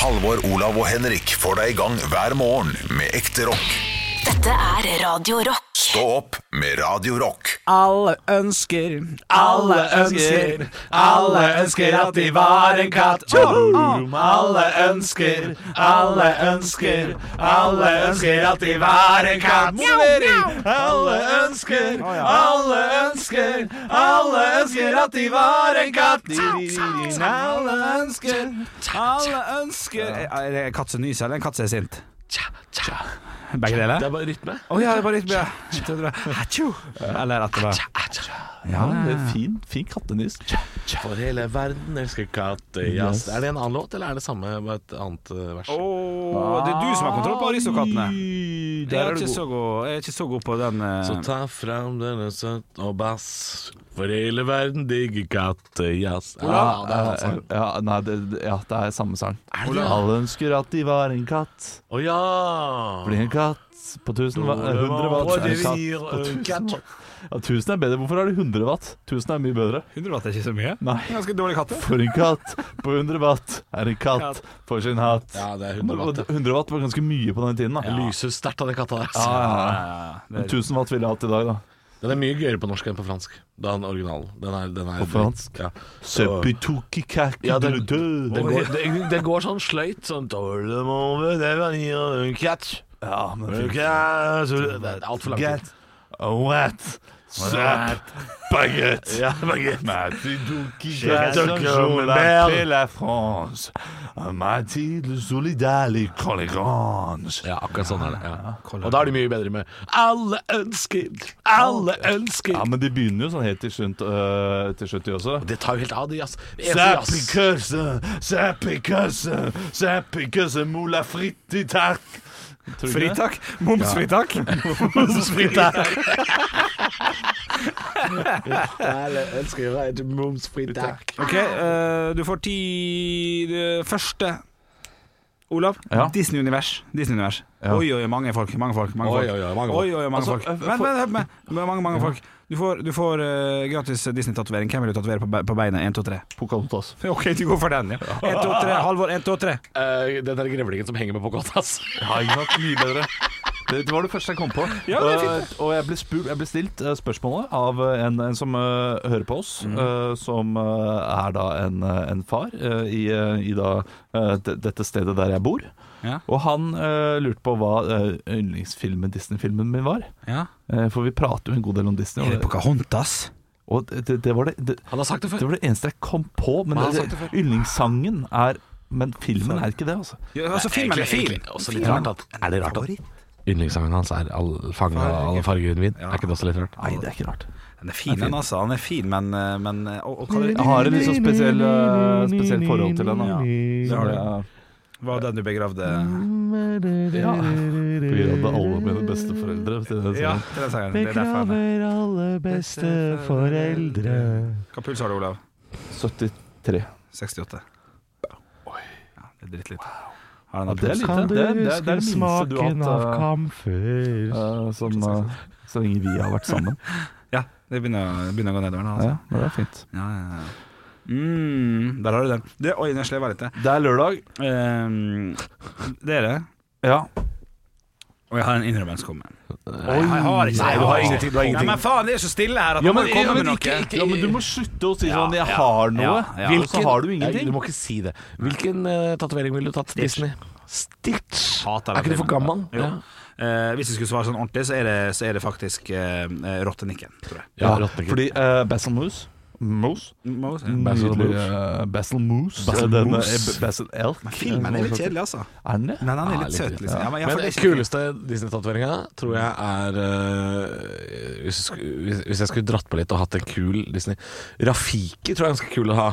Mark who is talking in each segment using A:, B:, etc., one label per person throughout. A: Halvor, Olav og Henrik får deg i gang hver morgen med ekte rock.
B: Dette er Radio Rock.
A: Stå opp med Radio Rock.
C: Alle ønsker, alle ønsker, alle ønsker at de var en katt. Tjoho! Alle ønsker, alle ønsker, alle ønsker at de var en katt. Alle ønsker, alle ønsker, alle ønsker at de var en katt. Alle ønsker, alle ønsker Er det en katt som nyser, eller en katt som er sint? Begge deler?
D: Det er bare rytme.
C: Å ja, det var litt bedre. Jeg trodde det var hatsjo. Eller at det var
D: Ja, det er Fin, fin kattenys. For hele verden elsker kattejazz. Er det en annen låt, eller er det samme med et annet eh, vers?
C: Åh, Det er du som har kontroll på aristokattene.
D: Oi,
C: Jeg
D: Der
C: er
D: er du
C: ikke så
D: god.
C: god, jeg er ikke så god på den eh,
D: Så ta fram denne søt og bass, for hele verden digger kattejazz. Ja, det er en annen sang.
E: Eh, Ja, nei, det, ja, det er samme sang.
D: eh, det det?
E: Alle ønsker at de var en katt.
D: Å ja!
E: Bli en katt på 1000 watt. 100 watt.
D: Og det
E: En katt
D: blir,
E: på
D: eh,
E: 1000 watt. Ja, 1000 er bedre. Hvorfor er det 100 watt? 1000 er mye bedre.
C: 100 watt er ikke så mye.
E: Nei.
C: Ganske dårlig katt. det.
E: For en katt på 100 watt er en katt
C: Katt.
E: for sin hatt.
D: Ja, det er 100
E: Og
D: watt.
E: 100 watt var ganske mye på den tiden, da.
D: Jeg lyser sterkt av den katta der.
E: Ja,
D: altså.
E: ja, ja.
C: Det er-
E: 1000 watt ville jeg hatt i dag, da.
D: Den er mye gøyere på norsk enn på fransk. Den originalen. Den er, den er
E: På fransk?
D: Ja. Så-
E: Sepitokikak
D: Ja, den,
E: død.
D: den, går, den, den går sånn sløyt sånn Altfor
E: Ja, men fint.
D: langt.
E: Get a wet Sup Oh, baguette
D: Ja, baguette.
E: Je m'appelle la France Mathilde Solidale Collegrange
D: Ja, akkurat sånn er det. Ja. Og da er de mye bedre med Alle ønsker, alle ønsker
E: Ja, men de begynner jo sånn helt til slutt øh, Til slutt de også
D: Det tar jo helt av, de, ass. Det eneste jazz-
E: Sapikøse, sapikøse, sapikøse Mola frittitak
C: Fritak. Momsfritak.
D: Alle ønsker et momsfri tak.
C: Ok, eh, du får ti det Første. Olav.
E: Ja.
C: Disney-univers. Disney-univers.
E: Ja.
C: Oi, oi, mange folk. Mange folk. Mange
D: Oi,
C: folk.
D: oi, oi, mange folk.
C: Oi, oi, mange
E: Altså,
C: folk.
E: eh, for-
C: Vent, vent, hør på meg. Mange, mange folk. Du får, du får eh, gratis Disney-tatovering. Hvem vil du tatovere på, be- på beinet? 1, 2, 3.
E: Pocahontas
C: Ok, du går for den, ja. 1, 2, 3. Halvor, 1, 2, 3.
D: eh, den der grevlingen som henger med Pocahontas.
E: Ja, ikke sant? Mye bedre. Det, det var det første jeg kom på.
C: Ja, det er fint,
E: og og jeg, ble spurt, jeg ble stilt eh, spørsmålet av eh, en, en som eh, hører på oss,
C: Mhm.
E: eh, som eh, er da en, eh, en far eh, i, eh, i da, eh, de- dette stedet der jeg bor.
C: Ja.
E: Og han eh, lurte på hva eh, yndlingsfilmen, Disney-filmen min var.
C: Ja.
E: Eh, for vi prater jo en god del om Disney.
C: Er det
E: Og,
C: Pocahontas?
E: og det, det, var det, det,
D: Han har sagt det
E: det
D: før.
E: var det eneste jeg kom på. Men
D: Hva har
E: det,
D: han sagt det før?
E: yndlingssangen er Men filmen er ikke det, altså.
C: Ja, altså, filmen er
D: Egentlig-
C: fin.
D: egentlig Også litt rart at, er det rart at yndlingssangen hans er all, 'Fanget av all fargen min'? Er ikke det også litt rart?
E: Nei, det er ikke rart.
C: Den er fin, den altså. Han er fin, men, men eh, og, og, hva
E: Jeg har et litt sånn spesiell, eh, spesielt forhold til den.
C: Ja.
E: da.
C: Det har du.
E: Ja.
C: Var den du begravde
E: Ja. På grunn av at alle mine besteforeldre. til den
C: Ja,
E: sangen.
C: til den sangen. Det er derfor han er
E: alle besteforeldre
C: Hva puls har du, Olav?
E: 73.
C: 68. Ja, det er drittlite. Har
E: Ja,
C: den
E: det er lite. Det, er- det, er- det er det minste du har hatt eh, eh, som eh, Så lenge vi har vært sammen.
C: Ja, det begynner, å- begynner å gå nedover nå, altså.
E: Ja, men det er fint.
C: Ja, ja, ja. Mm, der har du den. Det, oi, den sleva litt. jeg.
E: Det er lørdag.
C: Ehm, dere,
E: Ja.
C: og jeg har en innrømmelse å komme med.
E: Oi.
C: Jeg har ikke
D: Nei, du har ingenting, du har
C: Nei, men faen, det er så stille her at
E: Ja,
C: man
E: men,
C: må
E: ja,
C: komme med
E: men,
C: noe.
E: ikke, ikke, ja, men du må slutte å si
C: Ja,
E: sånn 'jeg
C: ja,
E: har noe',
C: ja, ja.
E: og så har du
D: Nei, du
E: ingenting.
D: må ikke si det. Hvilken uh, tatovering ville du tatt?
C: Stitch.
D: Disney? Stitch?
C: Hater
D: Er ikke
C: den
D: du for
C: filmen.
D: gammel?
C: Jo. Eh, hvis jeg skulle svare sånn ordentlig, så er det, så er det faktisk eh, eh, rottenikken, tror jeg.
E: Ja,
D: Fordi
E: fordi uh, Basil Moose Moose?
C: Mm,
D: Basil
E: Nydelig eh, Basil Moose.
D: Basil
E: Den, eh,
D: Moose.
E: Basil Elk. Eh,
C: Filmen er litt kjedelig, altså.
E: Er den det?
C: Men han er
D: Ja,
C: litt
D: litt
C: søt,
D: litt,
C: liksom. Ja, men jeg,
D: Men
C: for det
D: den
C: er ikke-
D: kuleste Disney-tatoveringa tror jeg er eh, hvis, jeg skulle, hvis- hvis jeg skulle dratt på litt og hatt en kul Disney Rafiki tror jeg er ganske kul å ha.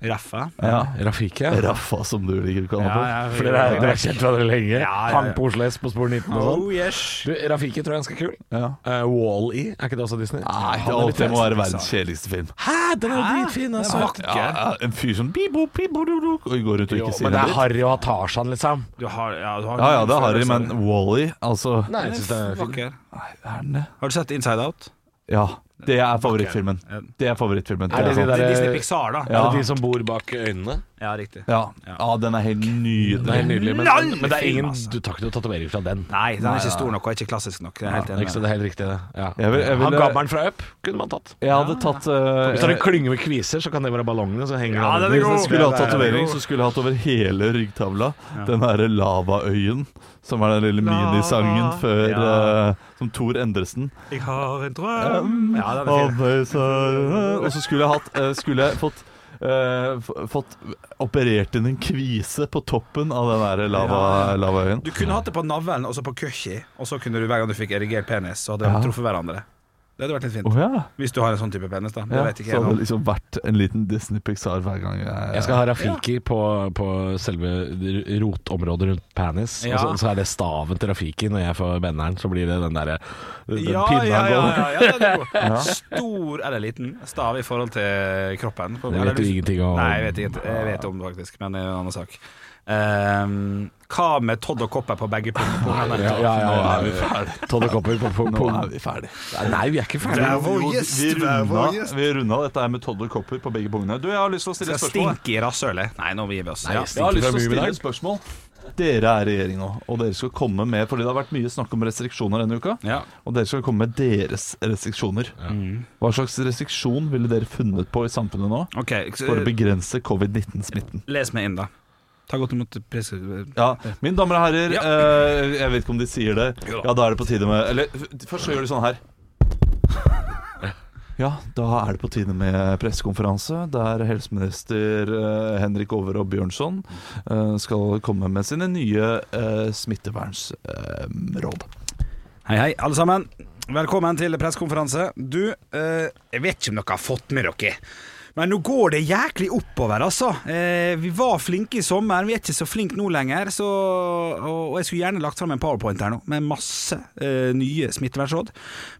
C: Raffa.
E: Ja.
D: Rafiki, ja.
E: Raffa, som du liker å kalle
C: Ja,
E: ham.
C: ja,
D: For dere er- dere har kjent hverandre lenge.
C: Ja, ja, ja.
D: Hang på Oslo S på spor 19 og sånn.
C: Oh yes.
D: Du, Rafiki tror jeg er ganske kul.
E: Ja.
D: Eh, Wall-E, er ikke det også Disney?
E: Nei,
D: Han
E: det
D: er
E: alltid
D: litt-
E: må være verdens kjedeligste film.
D: Hæ, den er jo dritfin!
C: Den
D: Altså.
C: er vakker.
E: Ja, ja, en fyr som bibo, bibo, du, du, og går rundt og
D: Jo,
E: ikke sier
D: men det
E: en
D: er
E: dritt.
D: Harry og Tarzan, liksom.
C: Du har, ja, du har
E: Ja ja, det er Harry, men Wally, altså
D: Nei, jeg synes det er fint.
C: Vakker.
E: Er den det?
C: Har du sett Inside Out?
E: Ja. Det er favorittfilmen. Det er favorittfilmen.
D: Er det de
E: sant.
D: der-
C: Det eh, er Disney Pixar, da.
E: Ja.
D: Er det de som bor bak øynene?
C: Ja, riktig.
E: ja. ja, den er helt
D: Det er
E: nydelig.
D: helt nydelig, men,
C: Lall
D: men det er
C: film,
D: ingen
C: altså.
D: Du tar ikke noen tatovering fra den.
C: Nei, den er ikke stor nok og ikke klassisk nok. Jeg er helt
D: Det er ikke så
C: enig.
D: det er helt riktig, det. Ja.
E: Jeg vil- jeg vil-
D: Han gabberen fra Up kunne man tatt.
E: Jeg hadde tatt
D: Hvis du har
E: eh,
D: en klynge med kviser, så kan det være ballongene. Så henger
C: Ja,
D: den
C: den er
D: under.
C: god.
E: Hvis jeg skulle hatt
C: Ja, det er
E: tatovering,
C: jo-
E: så skulle jeg hatt over hele ryggtavla den derre lavaøyen, som er den lille
C: Lava.
E: minisangen før
C: Ja.
E: eh, Som Tor Endresen.
C: Jeg har en drøm Ja, den er
E: Og
C: fin.
E: meg så- og så skulle jeg hatt eh, Skulle jeg fått eh, f- fått operert inn en kvise på toppen av den der lava, lavaøyen.
C: Du kunne hatt det på navlen og så på køkki, og så kunne du hver gang du fikk erigert penis, så hadde de
E: Ja.
C: truffet hverandre. Det hadde vært litt
E: Å
C: fint.
E: ja.
C: Hvis du har en sånn type penis, da. Det
E: ja.
C: vet ikke
E: så
C: jeg
E: hadde
C: nå.
E: det liksom vært en liten Disney Pixar hver gang jeg,
D: Jeg skal ha Rafiki på, på selve r- rotområdet rundt penis.
C: Ja.
D: Og så, så er det staven til Rafiki når jeg får benderen. Så blir det den derre den
C: Ja,
D: pinna
C: ja, ja,
D: går.
C: ja, ja, den er god. Stor eller liten stav i forhold til kroppen.
D: Det vet du ingenting om.
C: Nei, jeg vet, ikke, jeg vet om det faktisk, men det er en annen sak. Ehm, hva med Todd og Kopper på begge pung- pungene?
D: Ja, ja, ja,
E: Nå er
D: ja.
E: vi ferdig.
D: Todd og Kopper på, på, på.
E: Nå er vi ferdig.
D: Nei, vi er ikke ferdige.
C: Vær vår
E: Jo,
C: gjest,
E: vi
C: vær vår
E: runda-
C: gjest.
E: Vi runda dette her med Todd og Copper på begge pungene. Du, jeg har lyst til å stille
C: Skal
E: et spørsmål.
C: stinke i rasshølet? Nei, nå gir vi oss.
D: Nei,
C: Ja.
E: Jeg har lyst
D: Fra
E: til å stille
D: Mummidalen.
E: et spørsmål. Dere er regjering nå, og dere skal komme med Fordi det har vært mye snakk om restriksjoner denne uka.
C: Ja.
E: Og dere skal komme med deres restriksjoner. Hva slags restriksjon ville dere funnet på i samfunnet nå
C: Ok,
E: for å
C: så,
E: begrense covid-19-smitten?
C: les meg inn, da. Ta godt imot pris-
E: Ja, Mine damer og herrer,
C: Ja.
E: eh, jeg vet ikke om de sier det.
C: Jo da.
E: Ja, da er det på tide med Eller f- først så gjør de sånn her. Ja, da er det på tide med pressekonferanse, der helseminister eh, Henrik Over og Bjørnson eh, skal komme med sine nye eh, smittevernsråd.
C: Hei, hei, alle sammen. Velkommen til pressekonferranse. Du, eh, jeg vet ikke om dere har fått med dere. Men nå går det jæklig oppover, altså. Eh, vi var flinke i sommer, vi er ikke så flinke nå lenger. Så, og, og jeg skulle gjerne lagt fram en powerpoint her nå, med masse eh, nye smittevernråd.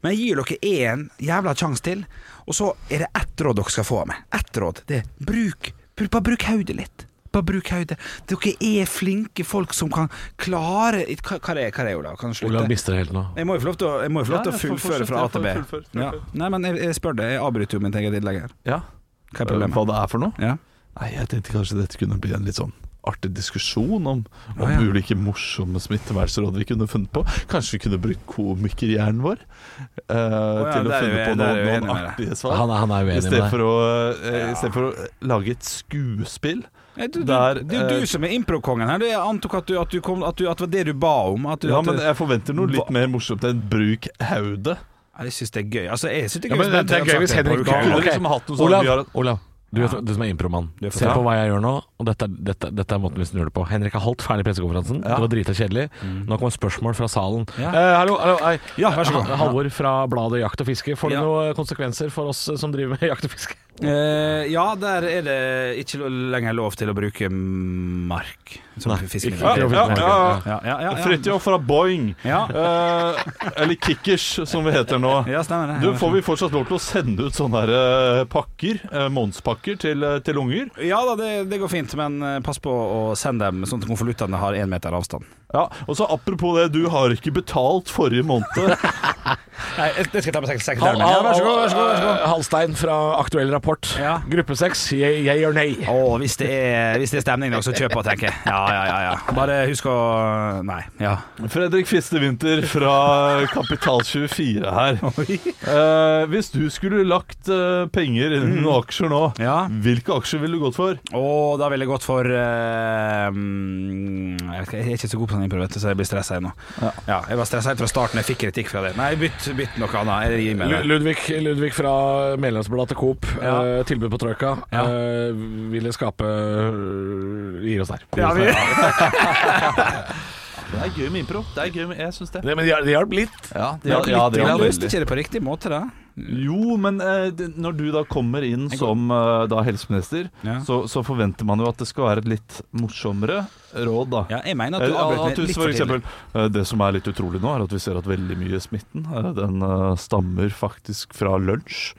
C: Men jeg gir dere én jævla sjanse til, og så er det ett råd dere skal få av meg. Ett råd. Det er bruk, bruk Bare bruk hodet litt. Bare bruk hodet. Dere er flinke folk som kan klare Hva, hva er det, hva er det Olav? Kan du slutte?
D: Olav mister det helt nå.
C: Jeg må jo få lov til å, jeg må jo få lov til
E: Ja,
C: å
E: ja, for-
C: fullføre fra A til B.
E: fortsett, ja, for- fullfør,
C: Ja.
E: fullfør.
C: Nei, men jeg, jeg spør deg. Jeg avbryter jo mitt eget innlegg her.
E: Ja.
C: Hva er
E: Hva
C: problemet?
E: det er for noe?
C: Ja.
E: Nei, jeg tenkte kanskje dette kunne bli en litt sånn artig diskusjon om, om
C: Å, ja.
E: ulike morsomme smittevernsråd vi kunne funnet på. Kanskje vi kunne brukt komikerhjernen vår eh,
C: ja,
E: til å
C: der er
E: finne
C: vi-
E: på
C: der
E: noen,
C: er vi enige
E: noen
C: med
E: artige svar.
D: Han, er- han er
E: I
D: uenig med
E: stedet
D: deg.
E: for, å, eh, i stedet for å lage et skuespill.
C: Nei, Du, du,
E: Der,
C: det er jo
E: eh,
C: du som er improkongen her. Du, Jeg antok at, du, at, du kom, at, du, at det var det du ba om. At du,
E: Ja,
C: at
E: men
C: du,
E: jeg forventer noe litt
C: Hva-
E: mer morsomt enn bruk hodet.
C: Nei, jeg syns det er gøy. Altså, jeg synes det er
D: Ja,
C: gøy,
D: men det,
C: hvis
D: det
C: Bente
D: er gøy
C: hadde
D: hvis
C: sagt det på
D: Henrik
C: uka.
E: Dahl-
D: Ok.
E: Kunne liksom hatt noe sånn
D: Olav,
E: vi har-
D: Olav du, er- du som er impromann.
C: Du er for
D: Se
C: bra.
D: på hva jeg gjør nå, og dette, er- dette, dette er måten vi snur det på. Henrik har holdt ferdig pressekonferansen.
E: Ja.
D: Det var drita kjedelig. Nå kommer spørsmål fra salen.
C: Mm. Ja.
D: Eh, hallo, hallo, hei.
C: Ja, vær så god.
D: Ha- Halvor fra bladet Jakt og fiske. Får det
C: Ja.
D: noen konsekvenser for oss eh, som driver med jakt og fiske?
C: Eh, ja, der er det ikke lo- lenger lov til å bruke mark som
D: Ja,
C: fiskemiddel.
E: ikke-
D: ja, ja.
C: Ja, ja, ja, ja.
E: Fridtjof fra Boing,
C: ja.
E: eh, eller Kickers som vi heter nå.
C: ja, stemmer det.
E: Du, Får vi fortsatt lov til å sende ut sånne her, eh, pakker, eh, månedspakker, til, eh, til unger?
C: Ja da, det, det går fint, men eh, pass på å sende dem sånn at konvoluttene har én meter avstand.
E: Ja, og så Apropos det, du har ikke betalt forrige måned.
C: Nei, det skal jeg ta med
D: Hal,
C: sekretæren
D: hal,
C: Vær så god, vær så god.
D: Eh, Halstein fra Aktuell rapport.
C: Ja.
D: Gruppe seks, jeg, jeg gjør nei.
C: Å, hvis, det er- hvis det er stemning nok, så kjøp på, tenker jeg. Ja, ja, ja, ja. Bare husk å Nei. Ja.
E: Fredrik Fistevinther fra Kapital24 her. Eh, hvis du skulle lagt eh, penger inn i noen aksjer nå,
C: Ja.
E: hvilke aksjer ville du gått for?
C: Og da ville jeg gått for eh, mm, Jeg er ikke så god på sånn impro, vet du, så jeg blir stressa ennå.
E: Ja.
C: Ja, jeg var stressa helt fra starten, jeg fikk kritikk fra det. Nei, bytt, bytt noe annet. Jeg gir meg
D: Lu-
C: det.
D: Ludvig, Ludvig fra medlemsbladet til Coop,
C: Ja.
D: eh, tilbud på Troika,
C: Ja.
D: eh, ville skape eh, Gir oss der.
C: Ja, vi-
E: Det er gøy med impro. Det er gøy med, Jeg syns det.
D: Det, men det hjel- det hjalp litt.
E: Ja, det,
C: Ja,
E: ja, det
C: Men
E: er
C: løste
E: veldig.
C: ikke det på riktig måte, da?
E: Jo, men eh, det- når du da kommer inn som eh, da helseminister,
C: Ja.
E: så, så forventer man jo at det skal være et litt morsommere råd, da.
C: Ja, jeg mener at
E: At
C: du avbrøt
E: at
C: meg
E: du,
C: litt
E: for
C: for tidlig.
E: eksempel, eh, det som er litt utrolig nå, er at vi ser at veldig mye smitten eh, den eh, stammer faktisk fra lunsj.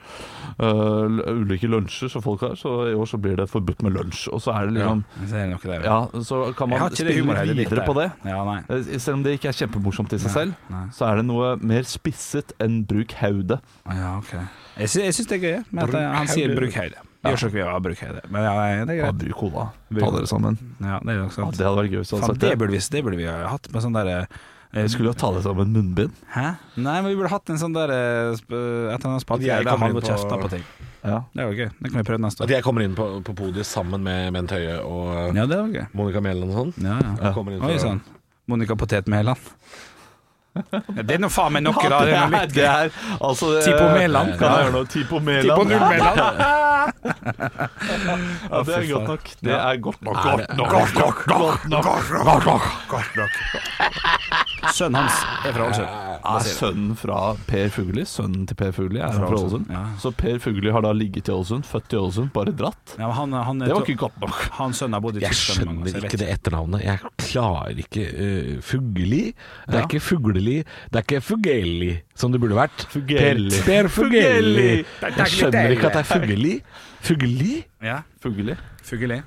E: Eh, l- Ulike lunsjer som folk har, så i år så blir det forbudt med lunsj. Og så er det liksom
C: Så er det noe der.
E: Ja, så kan
C: Jeg har
E: man
C: ikke det
E: spille
C: humorhøyde ditt
E: videre
C: der.
E: på det.
C: Ja, nei.
E: Eh, Selv om det ikke er kjempemorsomt i seg selv,
C: nei.
E: så er det noe mer spisset enn bruk hodet.
C: Ja, Ja, ok Jeg, sy jeg syns det er gøy, men at han sier 'bruk høyde'. Gjørsøk vil ha bruk høyde, men ja, nei, det er
E: Ja,
C: greit.
E: bruk hodet. Ta dere sammen.
C: Ja, det er nok
E: Ja,
C: sant.
E: det hadde vært gøy hvis du hadde
C: Faen,
E: sagt
C: det,
E: det.
C: burde vi, det burde vi ha hatt med sånn derre eh,
E: Jeg skulle jo ta dere sammen munnbind.
C: Mm. Hæ? Nei, men vi burde hatt en sånn der eh, sp Et eller annet spalte
D: At jeg
C: der
D: kommer
C: han
D: inn på-
C: kjefter på ting.
E: Ja.
C: Det var gøy. Det kan vi prøve neste
D: At
C: år.
D: jeg kommer inn på, på podiet sammen med Bent Høie og eh,
C: Ja, det var gøy.
D: Monica Mæland og sånn.
C: Ja, ja.
D: Jeg kommer inn
C: Oi sånn.
D: for-
C: sann. Monica Potetmæland. Ja, det er nå faen meg noe, da. Det er
E: Ja,
C: noe mitt.
E: det er altså det-
C: Tipo Mæland.
E: Kan jeg gjøre noe? Tipo Mæland.
C: Tipo Nullmæland.
E: Ja, det er godt nok. Det er godt nok.
D: Er det-
E: Godt nok. Godt nok. Godt nok.
C: Sønnen hans er fra Ålesund.
E: Er sønnen fra Per Fugelli, sønnen til Per Fugelli, er fra Ålesund.
C: Ja.
E: Så Per Fugelli har da ligget i Ålesund, født i Ålesund, bare dratt.
C: Ja, men han, han,
E: Det var ikke godt nok.
C: Han sønnen har bodd i
D: Jeg
C: Tyskland mange ganger, så
D: skjønner
C: altså. jeg
D: ikke
C: vet
D: det etternavnet. Jeg klarer ikke eh, Fugli. Det er
E: Ja.
D: ikke Fugleli, det er ikke Fugelli, som det burde vært.
E: Fugelli.
D: Per, per Fugelli.
E: Fugelli.
D: Jeg skjønner ikke at det er Fugli. Fugli?
C: Ja,
E: Fugelli.
C: Fugelli.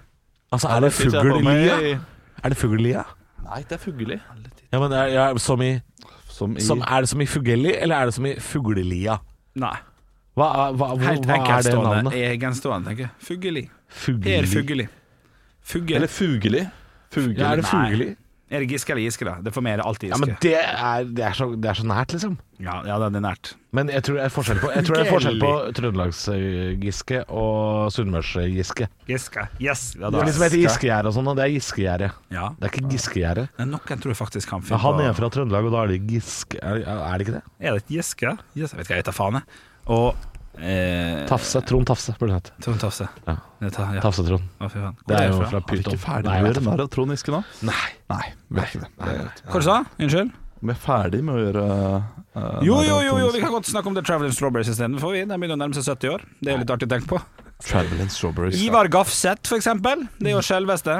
D: Altså, er det Fuglia? Er det Fuglia?
E: Nei, det er Fugelli.
D: Ja, men er, ja, som i,
E: Som i
D: som, er det som i Fugelli, eller er det som i Fuglelia?
C: Nei.
D: Hva, hva, hva,
C: Helt
D: hva er det
C: enkeltstående.
D: navnet?
C: Egenstående, tenker jeg. Fugelli. Per
D: Fugli.
C: Fugelli. Fugel.
E: Eller Fugeli. Fugeli.
D: Ja, er det
C: Nei.
D: Fugli?
C: Er det Giske eller Giske, da? Det får mer alltid
D: Ja,
C: Giske.
D: men det er, det, er så, det er så nært, liksom.
C: Ja, ja, det er nært.
D: Men jeg tror det er forskjell på, jeg tror det er forskjell på Trøndelags-Giske og Sunnmørs-Giske.
C: Giske. Yes! Ja,
D: Det er de som heter Giskegjerdet og sånn, og det er Giskegjerdet.
C: Ja.
D: Det er ikke Giskegjerdet.
C: Men noen tror jeg faktisk han
D: Ja,
C: finner
D: han er fra Trøndelag, og da er det Giske... Er, er det ikke det?
C: Er det et Giske? Yes, jeg vet ikke, jeg heter faen, jeg. Og eh,
D: Tafse. Trond Tafse, burde det hete.
C: Trond Tafse.
D: Ja.
C: Det tar- ja.
D: Tafse-Trond.
C: Å, fy faen. Hvor
D: Det er jo
C: fra?
D: fra
E: Er vi
D: Pyton.
E: ikke ferdig med
D: Nei,
E: å
D: jeg
E: gjøre
D: vet
E: narr av Trond Giske nå?
D: ikke. Nei.
E: Nei, vi er ikke det. Det er greit.
C: Hva du sa du? Unnskyld?
E: Vi er ferdig med å gjøre eh,
C: Jo, jo,
E: narr av
C: jo,
E: Trond
C: jo,
E: Giske.
C: vi kan godt snakke om The Traveling Strawberries istedenfor. De begynner å nærme seg 70 år. Det er litt artig å tenke på.
E: Travel and Strawberries.
C: Ivar Gafseth, for eksempel. Det er jo
D: Mm.
C: selveste.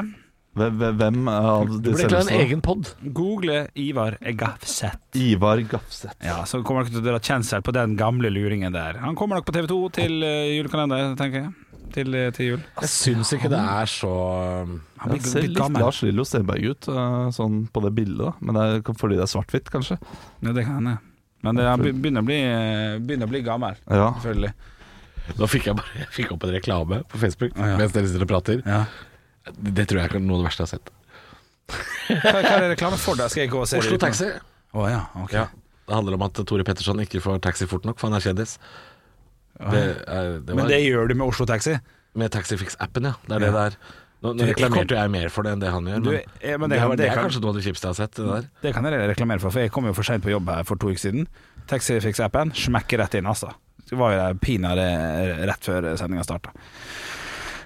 E: Hvem, hvem- hvem av
D: Det
E: de
D: burde egentlig
E: selveste?
D: ha en egen pod.
C: Google Ivar Gafseth.
E: Ivar Gafseth.
C: Ja, Så kommer dere til å dra kjensel på den gamle luringen der. Han kommer nok på TV2 til eh, julekalender, tenker jeg. Til, eh, til jul.
D: Jeg syns ikke det er så um,
C: Han
E: Han
C: blir,
E: ser
C: blir
E: litt
C: gammel.
E: Lars Lillo Stenberg ut eh, sånn på det bildet, da. men det er fordi det er svart-hvitt, kanskje.
C: Ja, det kan hende. Men det, han be- begynner å, bli, eh, begynner å bli gammel,
E: Ja.
C: selvfølgelig.
D: Nå fikk jeg bare jeg fikk opp en reklame på Facebook
C: Å, ja.
D: mens dere sitter og prater.
C: Ja.
D: Det tror jeg er noe av det verste jeg har sett.
C: Hva, hva er det reklame for? da? Skal jeg gå og se
D: Oslo
C: det ut nå?
D: Taxi.
C: Å ja, ok.
D: Ja. Det handler om at Tore Petterson ikke får taxi fort nok, for han er kjendis. Det er, det
C: Men
D: var
C: det gjør du med Oslo Taxi?
D: Med Taxifix-appen, ja. Det er det
C: Ja.
D: der. Nå, nå
C: Du,
D: reklamerte jo jeg mer for det enn det han gjør,
C: Du,
D: men,
C: eh, men det
D: Mm. det,
C: kan-
D: var- det
C: det
D: er
C: kan-
D: kanskje noe av det kjipeste jeg har sett. Det der.
C: Det kan jeg reklamere for, for jeg kom jo for seint på jobb her for to uker siden. Taxifix-appen smekker rett inn, altså. Det var jo der pinadø rett før sendinga starta.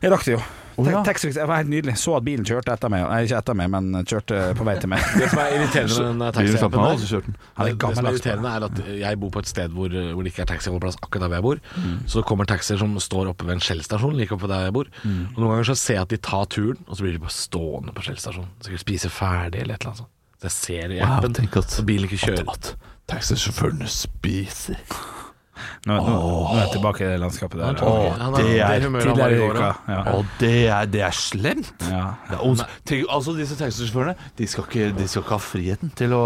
C: Jeg rakk det jo.
E: Å,
C: Ta-
E: ja.
C: Taxifix det var helt nydelig. Så at bilen kjørte etter meg. Nei, ikke etter meg, men kjørte på vei til meg.
D: Det som er irriterende
E: Bilen slapp
D: med den
E: av, altså,
D: taxi-appen der
E: og så kjørte den.
C: Han er
D: det, det som er
C: gammeldags.
D: irriterende er at eh, jeg bor på et sted hvor, eh, hvor det ikke er taxiholdeplass akkurat der hvor jeg bor. Så det kommer taxier som står oppe ved en Shell-stasjon like oppe der jeg bor. Og Noen ganger så ser jeg at de tar turen, og så blir de bare stående på Shell-stasjonen. Sikkert spise ferdig eller et eller annet sånt. Så jeg ser i appen
E: tenk at-
D: så bilen ikke kjører.
E: At taxisjåførene spiser.
C: Nå, nå, nå er jeg tilbake i det landskapet der.
D: Åh,
E: Åh,
D: han
E: det er
D: humøret han
C: Tidligere
D: var i
C: i
D: går,
C: uka.
D: ja.
C: Ja.
E: Og det er, det er slemt!
C: Ja.
E: Det er ons- tenk, altså, disse taxisjåførene de skal, ikke, de skal ikke ha friheten til å,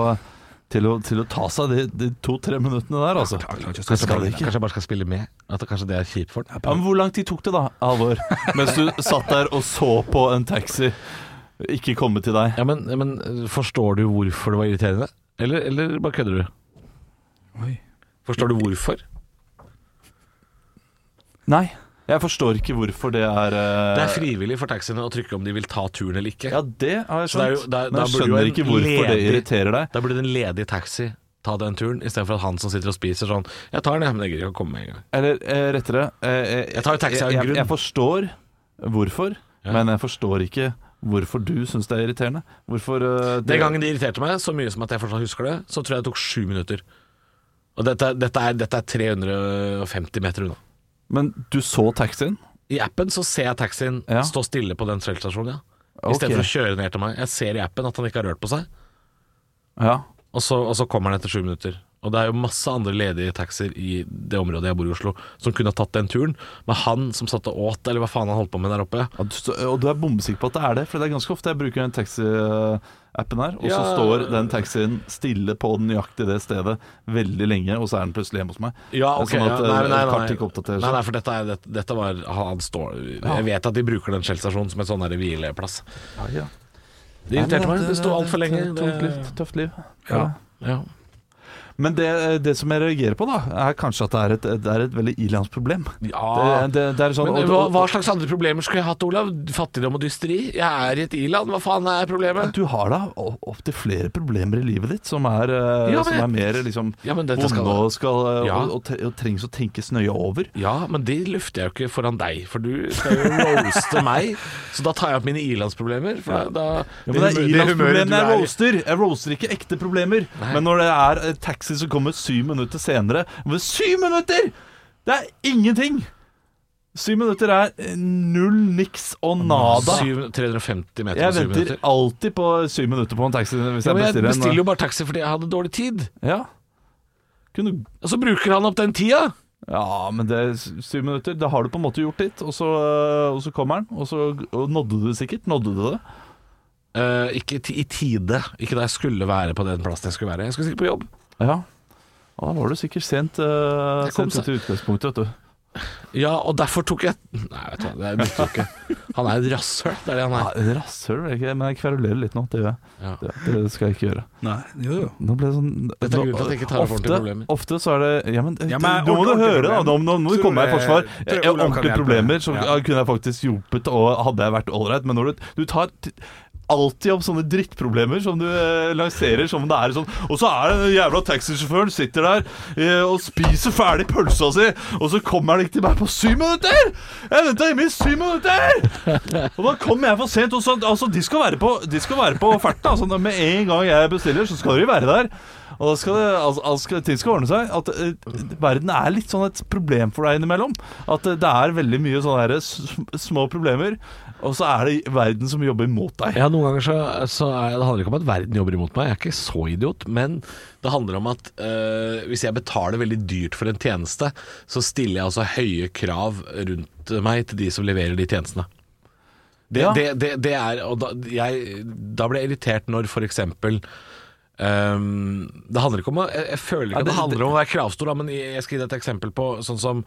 E: til å, til å ta seg de, de to-tre minuttene der, altså. Det
D: Kanskje,
E: skal de ikke.
D: kanskje jeg bare skal spille med? At det- kanskje det er kjipt for den?
E: Ja, men hvor lang tid tok det, da, Alvor? Mens du satt der og så på en taxi ikke komme til deg?
D: Ja, men, men forstår du hvorfor det var irriterende? Eller, eller bare kødder du?
C: Oi.
D: Forstår du hvorfor?
E: Nei. Jeg forstår ikke hvorfor det er eh,
D: Det er frivillig for taxiene å trykke om de vil ta turen eller ikke.
E: Ja, det har jeg
D: Så det er
E: skjønt.
D: jo- det er-
E: men
D: da
E: jeg
D: burde jo
E: skjønner
D: en
E: ikke hvorfor det
D: ledig-
E: irriterer deg.
D: Da burde en ledig taxi ta den turen, istedenfor at han som sitter og spiser sånn Jeg tar den, jeg, men jeg gidder ikke å komme med en gang.
E: Eller eh, rettere eh, eh,
D: Jeg tar jo taxi av en
E: jeg,
D: grunn.
E: jeg, jeg forstår hvorfor,
D: Ja.
E: men jeg forstår ikke hvorfor du syns det er irriterende. Hvorfor eh, det-
D: Den gangen det irriterte meg så mye som at jeg fortsatt husker det, så tror jeg det tok sju minutter. Og dette, dette, er, dette er 350 meter unna.
E: Men du så taxien?
D: I appen så ser jeg taxien
E: Ja.
D: stå stille på den Shell-stasjonen, ja.
E: Ok.
D: Istedenfor å kjøre ned til meg. Jeg ser i appen at han ikke har rørt på seg,
E: Ja.
D: og så, og så kommer han etter sju minutter. Og det er jo masse andre ledige taxier i det området jeg bor i Oslo, som kunne ha tatt den turen. Men han som satt og åt, eller hva faen han holdt på med der oppe
E: Ja, du, stå- og du er bombesikker på at det er det, for det er ganske ofte jeg bruker den taxi-appen her, og så
D: Ja.
E: står den taxien stille på nøyaktig det stedet veldig lenge, og så er den plutselig hjemme hos meg.
D: Ja,
E: Det
D: ok
E: er sånn at
D: ja,
E: eh, kartet ikke
D: nei,
E: oppdaterer
D: nei,
E: seg.
D: nei, for dette, er, dette, dette var han står, Jeg vet at de bruker den Shell-stasjonen som en sånn der hvileplass.
E: Ja, ja.
D: Det irriterte meg. Det sto altfor lenge.
E: Det, tungt liv, tøft liv.
D: Ja. Ja.
E: Men det, eh, det som jeg reagerer på, da, er kanskje at det er et, det er et veldig ilandsproblem.
D: Ja.
E: Det, det, det er sånn
D: Ah. Men
E: og-
D: hva,
E: og-
D: hva slags andre problemer skulle jeg hatt, Olav? Fattigdom og dysteri? Jeg er i et i-land, hva faen er problemet?
E: Du har da opptil flere problemer i livet ditt som er, eh,
D: Ja, men-
E: som er mer liksom
D: Ja, men dette
E: vonde
D: skal
E: og, skal, eh,
D: Ja.
E: og, og, tre- og trengs å tenkes nøye over.
D: Ja, men det lufter jeg jo ikke foran deg, for du skal jo roaste meg. Så da tar jeg opp mine ilandsproblemer. For da, da
E: Ja, men det er
D: humøret du
E: ilandsproblemene jeg
D: er i.
E: roaster. Jeg roaster ikke ekte problemer. Men når det er eh, taxi som kommer syv minutter senere men Syv minutter! Det er ingenting! Syv minutter er eh, null niks og nada.
D: Syv- 350 meter
E: Jeg
D: på syv
E: venter
D: minutter.
E: alltid på syv minutter på en taxi hvis
D: Ja,
E: jeg
D: men jeg eh,
E: bestiller en. eh,
D: bestiller jo bare taxi fordi jeg hadde dårlig tid.
E: Ja. Kunne
D: Og så bruker han opp den tida.
E: Ja, men det er syv minutter. Det har du på en måte gjort ditt, og så, eh, og så kommer den. Og så og nådde du det sikkert. Nådde du det?
D: Eh, ikke ti- i tide. Ikke da jeg skulle være på den plassen jeg skulle være. Jeg skulle sikkert på jobb.
E: Ja. Ja, Da var du sikkert sent, uh,
D: Jeg kom
E: sent ut i utgangspunktet, vet du.
D: Ja, og derfor tok jeg Nei, vet du hva, det nytter jo ikke. Han er et rasshøl, det er det han
E: Ja,
D: er.
E: Ah, Rasshøl, vil jeg ikke, men jeg kverulerer litt nå. Det gjør jeg.
D: Ja.
E: Det, det skal jeg ikke gjøre.
C: Nei, jo jo.
E: Nå ble det sånn
D: Dette er grunnen til at jeg ikke tar opp ordentlige
E: ofte,
D: problemer.
E: ofte så er det Ja, men,
C: Ja, men
E: nå må du
C: ordentlige
E: høre, da.
C: problemer.
E: Nå, nå må du
C: Tror
E: komme meg i
C: jeg-
E: forsvar.
C: tror jeg
E: Jeg, jeg,
C: Olav kan
E: ordentlige
C: hjelpe.
E: problemer så
C: Ja.
E: kunne jeg faktisk hjulpet, og hadde jeg vært ålreit. Men når du, du tar t alltid opp sånne drittproblemer som du eh, lanserer som om det er sånn Og så er det den jævla taxisjåføren sitter der eh, og spiser ferdig pølsa si, og så kommer han ikke til meg på syv minutter! Jeg venta hjemme i syv minutter! Og da kom jeg for sent. Og så, altså, de, skal være på, de skal være på farten. Altså, når- med en gang jeg bestiller, så skal de være der. Og da skal det, altså, altså, skal- ting skal ordne seg. At eh, Verden er litt sånn et problem for deg innimellom. At eh, det er veldig mye sånne her s- små problemer, og så er det verden som jobber mot deg.
D: Ja, noen ganger så, så er, Det handler ikke om at verden jobber imot meg, jeg er ikke så idiot. Men det handler om at eh, hvis jeg betaler veldig dyrt for en tjeneste, så stiller jeg altså høye krav rundt meg til de som leverer de tjenestene. Det,
E: Ja.
D: det, det, det er Og da, jeg, da ble jeg irritert når for eksempel ehm, Det handler ikke om å Jeg, jeg føler ikke
E: Ja,
D: at det
E: det-
D: handler om å være kravstor, da, men jeg, jeg skal gi deg et eksempel på sånn som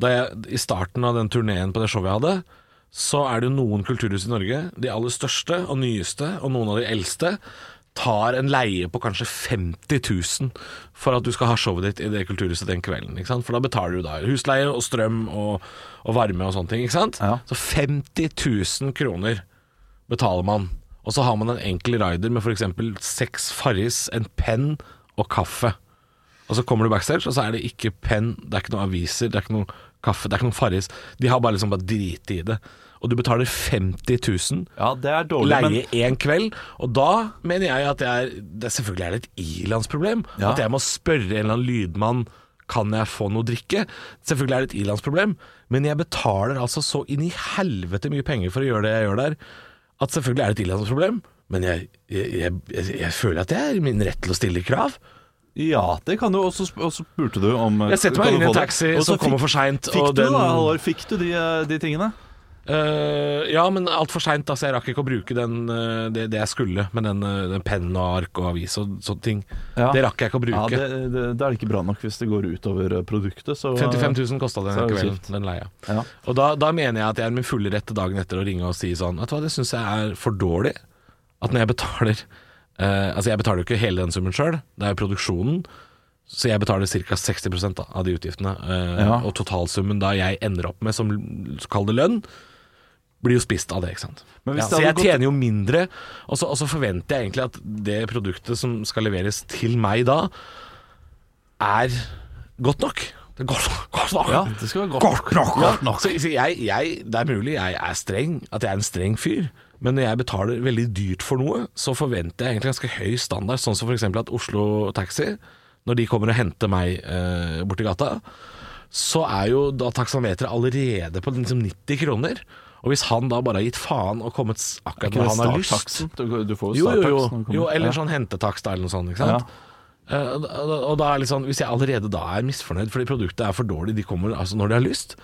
D: da jeg, I starten av den turneen på det showet jeg hadde, så er det jo noen kulturhus i Norge, de aller største og nyeste, og noen av de eldste, tar en leie på kanskje 50 000 for at du skal ha showet ditt i det kulturhuset den kvelden. Ikke sant? For da betaler du da husleie og strøm og, og varme og sånne ting. Ikke sant?
E: Ja.
D: Så 50 000 kroner betaler man. Og så har man en enkel rider med f.eks. seks Farris, en penn og kaffe. Og så kommer du backstage, og så er det ikke penn, det er ikke noen aviser, det er ikke noen kaffe, det er ikke noen Farris. De har bare liksom bare driti i det. Og du betaler 50 000
E: Ja, det er dårlig, men
D: leie én kveld. Og da mener jeg at det er, det selvfølgelig er det et ilandsproblem.
E: Ja.
D: At jeg må spørre en eller annen lydmann kan jeg få noe drikke. Selvfølgelig er det et ilandsproblem, men jeg betaler altså så inn i helvete mye penger for å gjøre det jeg gjør der, at selvfølgelig er det et ilandsproblem. Men jeg, jeg, jeg, jeg, jeg føler at jeg er i min rett til å stille krav.
E: Ja, det kan du. Og så sp- og så spurte du om eh,
D: Jeg setter
E: kan
D: meg
E: du
D: inn i
E: få
D: en
E: det?
D: taxi
E: Og så
D: som
E: fikk-
D: kommer for seint.
E: Fikk du, da, Halvor? Fikk du de, eh, de tingene?
D: Eh, ja, men altfor seint. Altså, jeg rakk ikke å bruke den, eh, det, det jeg skulle med den, eh, den penn og ark og avis og sånne ting.
E: Ja.
D: Det rakk jeg ikke å
E: Ja,
D: bruke.
E: det, det, det er ikke bra nok hvis det går utover eh, produktet. Så, eh,
D: 55 000 kosta den
E: Så er det
D: kvelden,
E: kjipt.
D: den leia.
E: Ja.
D: Og da, da mener jeg at jeg er i min fulle rett til dagen etter å ringe og si sånn Vet du hva, det syns jeg er for dårlig. At når jeg betaler eh, Altså, jeg betaler jo ikke hele den summen sjøl, det er jo produksjonen. Så jeg betaler ca. 60 da, av de utgiftene. eh,
E: Ja.
D: Og totalsummen da jeg ender opp med som kall det lønn, blir jo spist av det, ikke sant.
E: Men hvis
D: Ja,
E: det
D: så
E: hadde
D: jeg
E: gått-
D: tjener jo mindre, og så, og så forventer jeg egentlig at det produktet som skal leveres til meg da, er godt nok. Det er godt, godt nok.
E: Ja, det skal være godt.
D: nok.
E: Godt nok.
D: Så, så jeg, jeg, det er mulig jeg er streng, at jeg er en streng fyr, men når jeg betaler veldig dyrt for noe, så forventer jeg egentlig ganske høy standard, sånn som f.eks. at Oslo Taxi, når de kommer og henter meg eh, borti gata, så er jo da taksameteret allerede på liksom 90 kroner. Og hvis han da bare har gitt faen og kommet s- akkurat når han har lyst
E: Du, du får starttaksen
D: jo, jo, jo. sånn
E: når du kommer.
D: jo, eller sånn hentetakst eller noe sånt. Ikke sant? Eh, og da- og da er det litt sånn, Hvis jeg allerede da er misfornøyd fordi produktet er for dårlig, de kommer altså når de har lyst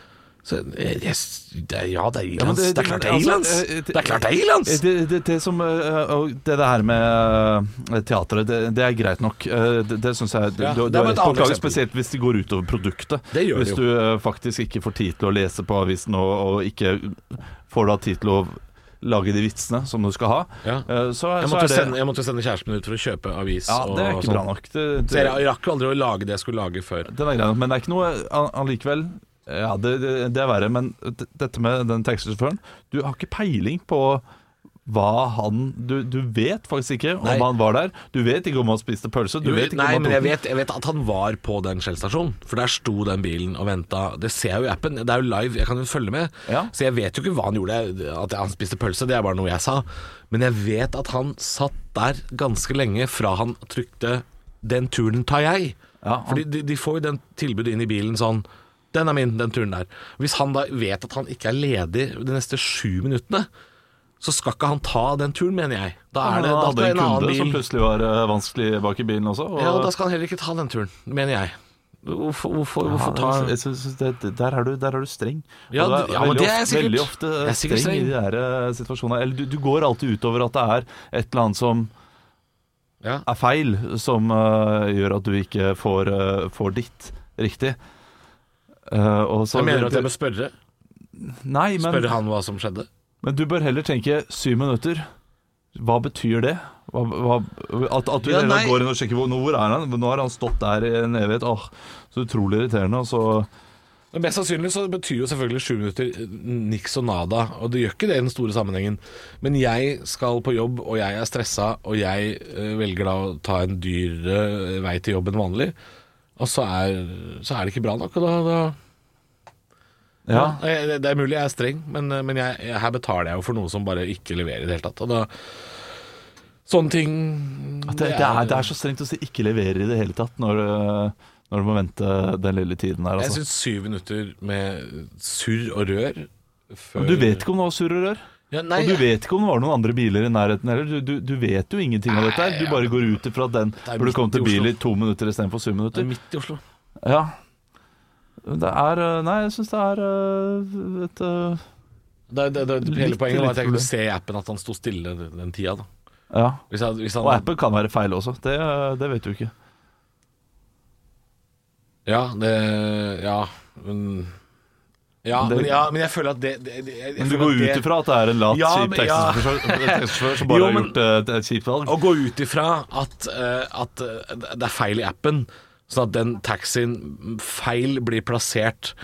D: så, eh, yes, det, er- Ja, det er
E: men
D: Irlands.
E: det-
D: det, er
E: men
D: klart det er
E: altså,
D: Irlands!
E: eh,
D: Det er klart det er Irlands!
E: Det, det, det, som, eh, og det, det her med eh, teatret, det, det er greit nok. Eh, Det, det syns jeg du,
D: Ja,
E: du,
D: det
E: du har
D: er bare
E: rett
D: et
E: på
D: annet
E: klager,
D: eksempel.
E: spesielt hvis det går utover produktet.
D: Det gjør det
E: hvis
D: jo.
E: du eh, faktisk ikke får tid til å lese på avisen, og, og ikke får da tid til å lage de vitsene som du skal ha,
D: Ja.
E: eh, så,
D: Jeg
E: så
D: måtte,
E: er det
D: sende, jeg måtte sende kjæresten min ut for å kjøpe avis.
E: Ja, det er
D: og
E: ikke
D: sånn.
E: bra nok. Det,
D: Så jeg
E: det,
D: rakk jo aldri å lage det jeg skulle lage før.
E: den er grei nok, men det er ikke noe all- allikevel Ja, det, det, det er verre, men d- dette med den taxisjåføren Du har ikke peiling på hva han Du, du vet faktisk ikke om
D: Nei.
E: han var der. Du vet ikke om han spiste pølse. Du
D: Jo,
E: vet ikke
D: Nei,
E: om han
D: men
E: tok
D: jeg
E: den.
D: vet, jeg vet at han var på den Shell-stasjonen. For der sto den bilen og venta. Det ser jeg jo i appen. Det er jo live, jeg kan jo følge med.
E: Ja.
D: Så jeg vet jo ikke hva han gjorde. At han spiste pølse, det er bare noe jeg sa. Men jeg vet at han satt der ganske lenge fra han trykte 'Den turen tar jeg'.
E: Ja, han-
D: Fordi de, de får jo den tilbudet inn i bilen sånn 'Den er min, den turen der'. Hvis han da vet at han ikke er ledig de neste sju minuttene, så skal ikke han ta den turen, mener jeg. Da er det,
E: Han
D: da
E: hadde
D: skal
E: en
D: en annen
E: kunde
D: bil
E: som plutselig var eh, vanskelig bak i bilen også. og-
D: ja, og da skal han heller ikke ta den turen, mener jeg. Hvorfor, hvorfor,
E: Ja,
D: hvorfor ta
E: jeg synes- jeg synes det, det- der, er du, der er du streng. Og
D: Ja,
E: du
D: det- ja, men
E: veldig
D: det er jeg
E: ofte-
D: sikkert.
E: Veldig ofte
D: Jeg er sikkert
E: streng i de der eh, situasjonene. Eller du, du går alltid utover at det er et eller annet som
D: Ja.
E: er feil, som eh, gjør at du ikke får, eh, får ditt riktig. Eh, og så,
D: Jeg mener at jeg må spørre
E: Nei, men,
D: Spørre han hva som skjedde.
E: men du bør heller tenke syv minutter. Hva betyr det? Hva, hva, at, at du hele
D: Ja,
E: tiden
D: nei.
E: går inn og sjekker hvor, nå, hvor er han? Nå har han stått der i en evighet. Åh, så utrolig irriterende. Og så
D: Men Mest sannsynlig så betyr jo selvfølgelig sju minutter eh, niks og nada, og det gjør ikke det i den store sammenhengen. Men jeg skal på jobb, og jeg er stressa, og jeg eh, velger da å ta en dyrere eh, vei til jobb enn vanlig. Og så er, så er det ikke bra nok, og da, da
E: Ja,
D: jeg- Det det er mulig jeg er streng, men, eh, men jeg, jeg, her betaler jeg jo for noe som bare ikke leverer i det hele tatt. Og da Sånne ting
E: At det, det, er, det er så strengt å si 'ikke leverer i det hele tatt' når, øh, når du må vente den lille tiden her.
D: Jeg
E: Altså.
D: syns syv minutter med surr og rør før
E: Men Du vet ikke om det var surr og rør.
D: ja,
E: Og
D: nei,
E: du vet ikke om det var noen andre biler i nærheten heller. Du, du, du vet jo ingenting av dette her. Du bare går ut ifra at den
D: er
E: burde komme
D: midt i
E: til bil
D: Oslo.
E: i to minutter istedenfor syv
D: Det er
E: minutter.
D: midt i Oslo.
E: Ja. Det er øh, Nei, jeg syns det er øh, et øh,
D: Det, det, det, hele
E: Litt-
D: poenget var
E: litt
D: at jeg
E: problem.
D: kunne se i appen at han sto stille den, den tida. Da.
E: Ja.
D: Hvis jeg, hvis han,
E: Og appen kan være feil også. Det, øh, det vet du ikke.
D: Ja, det Ja, men ja,
E: Men det-
D: men, ja, men jeg føler at det, det, det jeg,
E: Men du
D: føler
E: går
D: at det-
E: ut ifra at det er en lat,
D: Ja,
E: kjip
D: men- ja.
E: taxisjåfør som
D: Jo,
E: bare har
D: men-
E: gjort øh, et- et kjipt valg.
D: Å gå ut ifra at, eh, at eh, det er feil i appen, sånn at den taxien feil blir plassert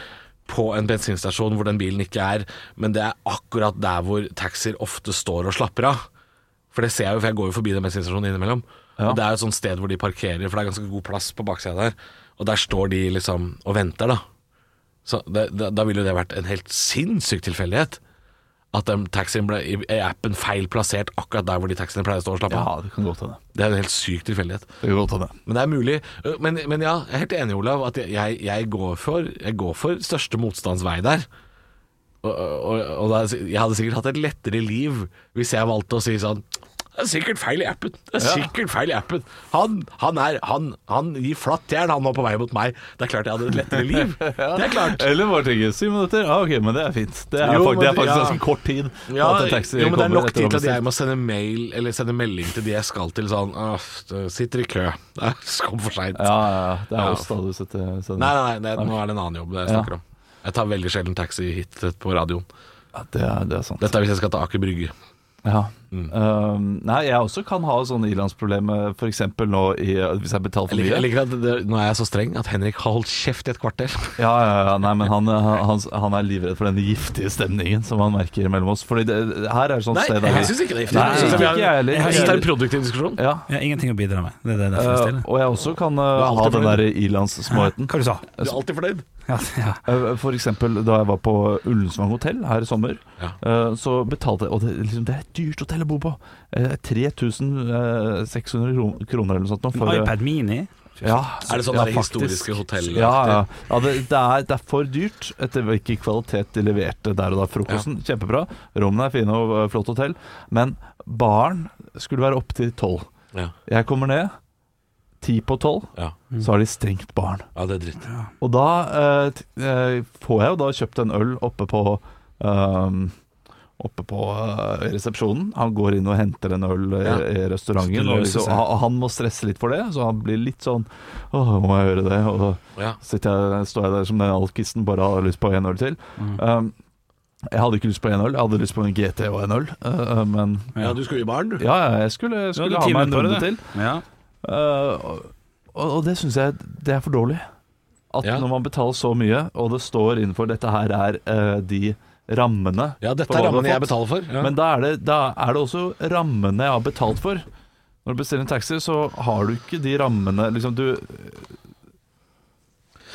D: på en bensinstasjon hvor den bilen ikke er, men det er akkurat der hvor taxier ofte står og slapper av. For det ser jeg jo, for jeg går jo forbi den bensinstasjonen innimellom. Og det er jo et sånt sted hvor de parkerer, for det er ganske god plass på baksida der. Og der står de liksom og venter, da. Så det, da, da ville jo det vært en helt sinnssyk tilfeldighet. At den taxien ble i, i appen feil plassert akkurat der hvor de taxiene pleier å stå og slappe av.
E: Ja, det kan godt hende.
D: Det er en helt syk tilfeldighet.
E: Det kan godt hende.
D: Men det er mulig. Øh, Men, men ja, jeg er helt enig, Olav, at jeg, jeg, går, for, jeg går for største motstandsvei der. Og, og, og da, jeg hadde sikkert hatt et lettere liv hvis jeg valgte å si sånn det er sikkert feil i appen. Det er sikkert feil i appen. Han, han, er, han, han gir flatt jern, han var på vei mot meg. Det er klart jeg hadde et lettere liv. Det er klart.
E: Eller bare tenke syv minutter. Ja, ok, men det er fint. Det er,
D: Jo,
E: fakt- det er
D: men-
E: faktisk
D: ja.
E: ganske kort tid.
D: Ja,
E: at en taxi
D: jo, men det er
E: kommer
D: nok
E: etter
D: tid til at
E: ombestilt.
D: jeg må sende mail eller sende melding til de jeg skal til, sånn «Åh, Sitter i kø. Det er Kom for seint.
E: Ja, ja, ja. Det er
D: Ja.
E: oss da du setter setter-
D: Nei, nei, nei, det, nå er det en annen jobb jeg snakker
E: Ja.
D: om. Jeg tar veldig sjelden taxi hit eh, på radioen.
E: Ja, det, er, det er sant.
D: Dette er hvis jeg skal til Aker Brygge.
E: Ja.
D: Mm.
E: Um, nei, jeg også kan ha sånne ilandsproblemer, for eksempel nå i, hvis jeg betaler for
D: Jeg liker, jeg
E: mye.
D: liker at det, nå er jeg så streng at Henrik har holdt kjeft i et kvarter.
E: Ja, ja, ja, nei, men han, han, han er livredd for den giftige stemningen som han merker mellom oss. Fordi det, her er et sånt sted der vi-
D: ikke det.
E: Nei,
D: Jeg synes
E: ikke jeg heller.
D: Jeg synes det er en produktiv diskusjon.
E: ja,
C: Jeg har ingenting å bidra med. Det er det derfor jeg
E: uh,
C: stiller.
E: Og jeg også kan uh,
D: alltid
E: ha den
D: fornøyd.
E: der ilandssmåheten.
C: Hva du sa
D: Du er alltid fornøyd.
C: ja, ja.
E: Eh, For eksempel da jeg var på Ullensvang hotell her i sommer,
D: Ja.
E: eh, så betalte jeg Og det, liksom, det er et dyrt hotell å bo på! Eh, 3600 kron- kroner eller noe sånt. nå
C: En
E: for, eh,
C: iPad Mini?
E: Ja,
D: Er det sånn
E: ja,
D: der
E: faktisk.
D: historiske hotell-
E: Ja, ja. ja det, det, er, det er for dyrt etter hvilken kvalitet de leverte der og da. Frokosten, kjempebra. Rommene er fine og eh, flott hotell. Men baren skulle være opp til tolv.
D: Ja.
E: Jeg kommer ned ti på tolv,
D: Ja.
E: så har de stengt baren.
D: ja, det er dritt.
E: Og da eh, t- eh, får jeg jo da kjøpt en øl oppe på eh, Oppe på eh, resepsjonen. Han går inn og henter en øl eh,
D: Ja.
E: i restauranten.
D: Så det
E: Og
D: løser
E: liksom,
D: seg.
E: han, han må stresse litt for det, så han blir litt sånn Åh, må jeg gjøre det? Og så
D: Ja.
E: sitter jeg, står jeg der som den alkisten, bare har lyst på en øl til.
C: Mm.
E: Um, jeg hadde ikke lyst på en øl, jeg hadde lyst på en GT og en øl. uh, men
D: ja, du skulle i baren, du.
E: ja, ja, jeg skulle, jeg skulle
C: du
E: ha meg en
C: timet på det.
E: runde til.
C: Ja.
E: Uh, og, og det syns jeg det er for dårlig. At
D: Ja.
E: når man betaler så mye, og det står innenfor dette her er uh, de rammene
D: Ja, dette
E: for hva du
D: er
E: har
D: rammene jeg
E: fått.
D: betaler for. Ja.
E: Men da er, det, da er det også rammene jeg har betalt for. Når du bestiller en taxi, så har du ikke de rammene liksom du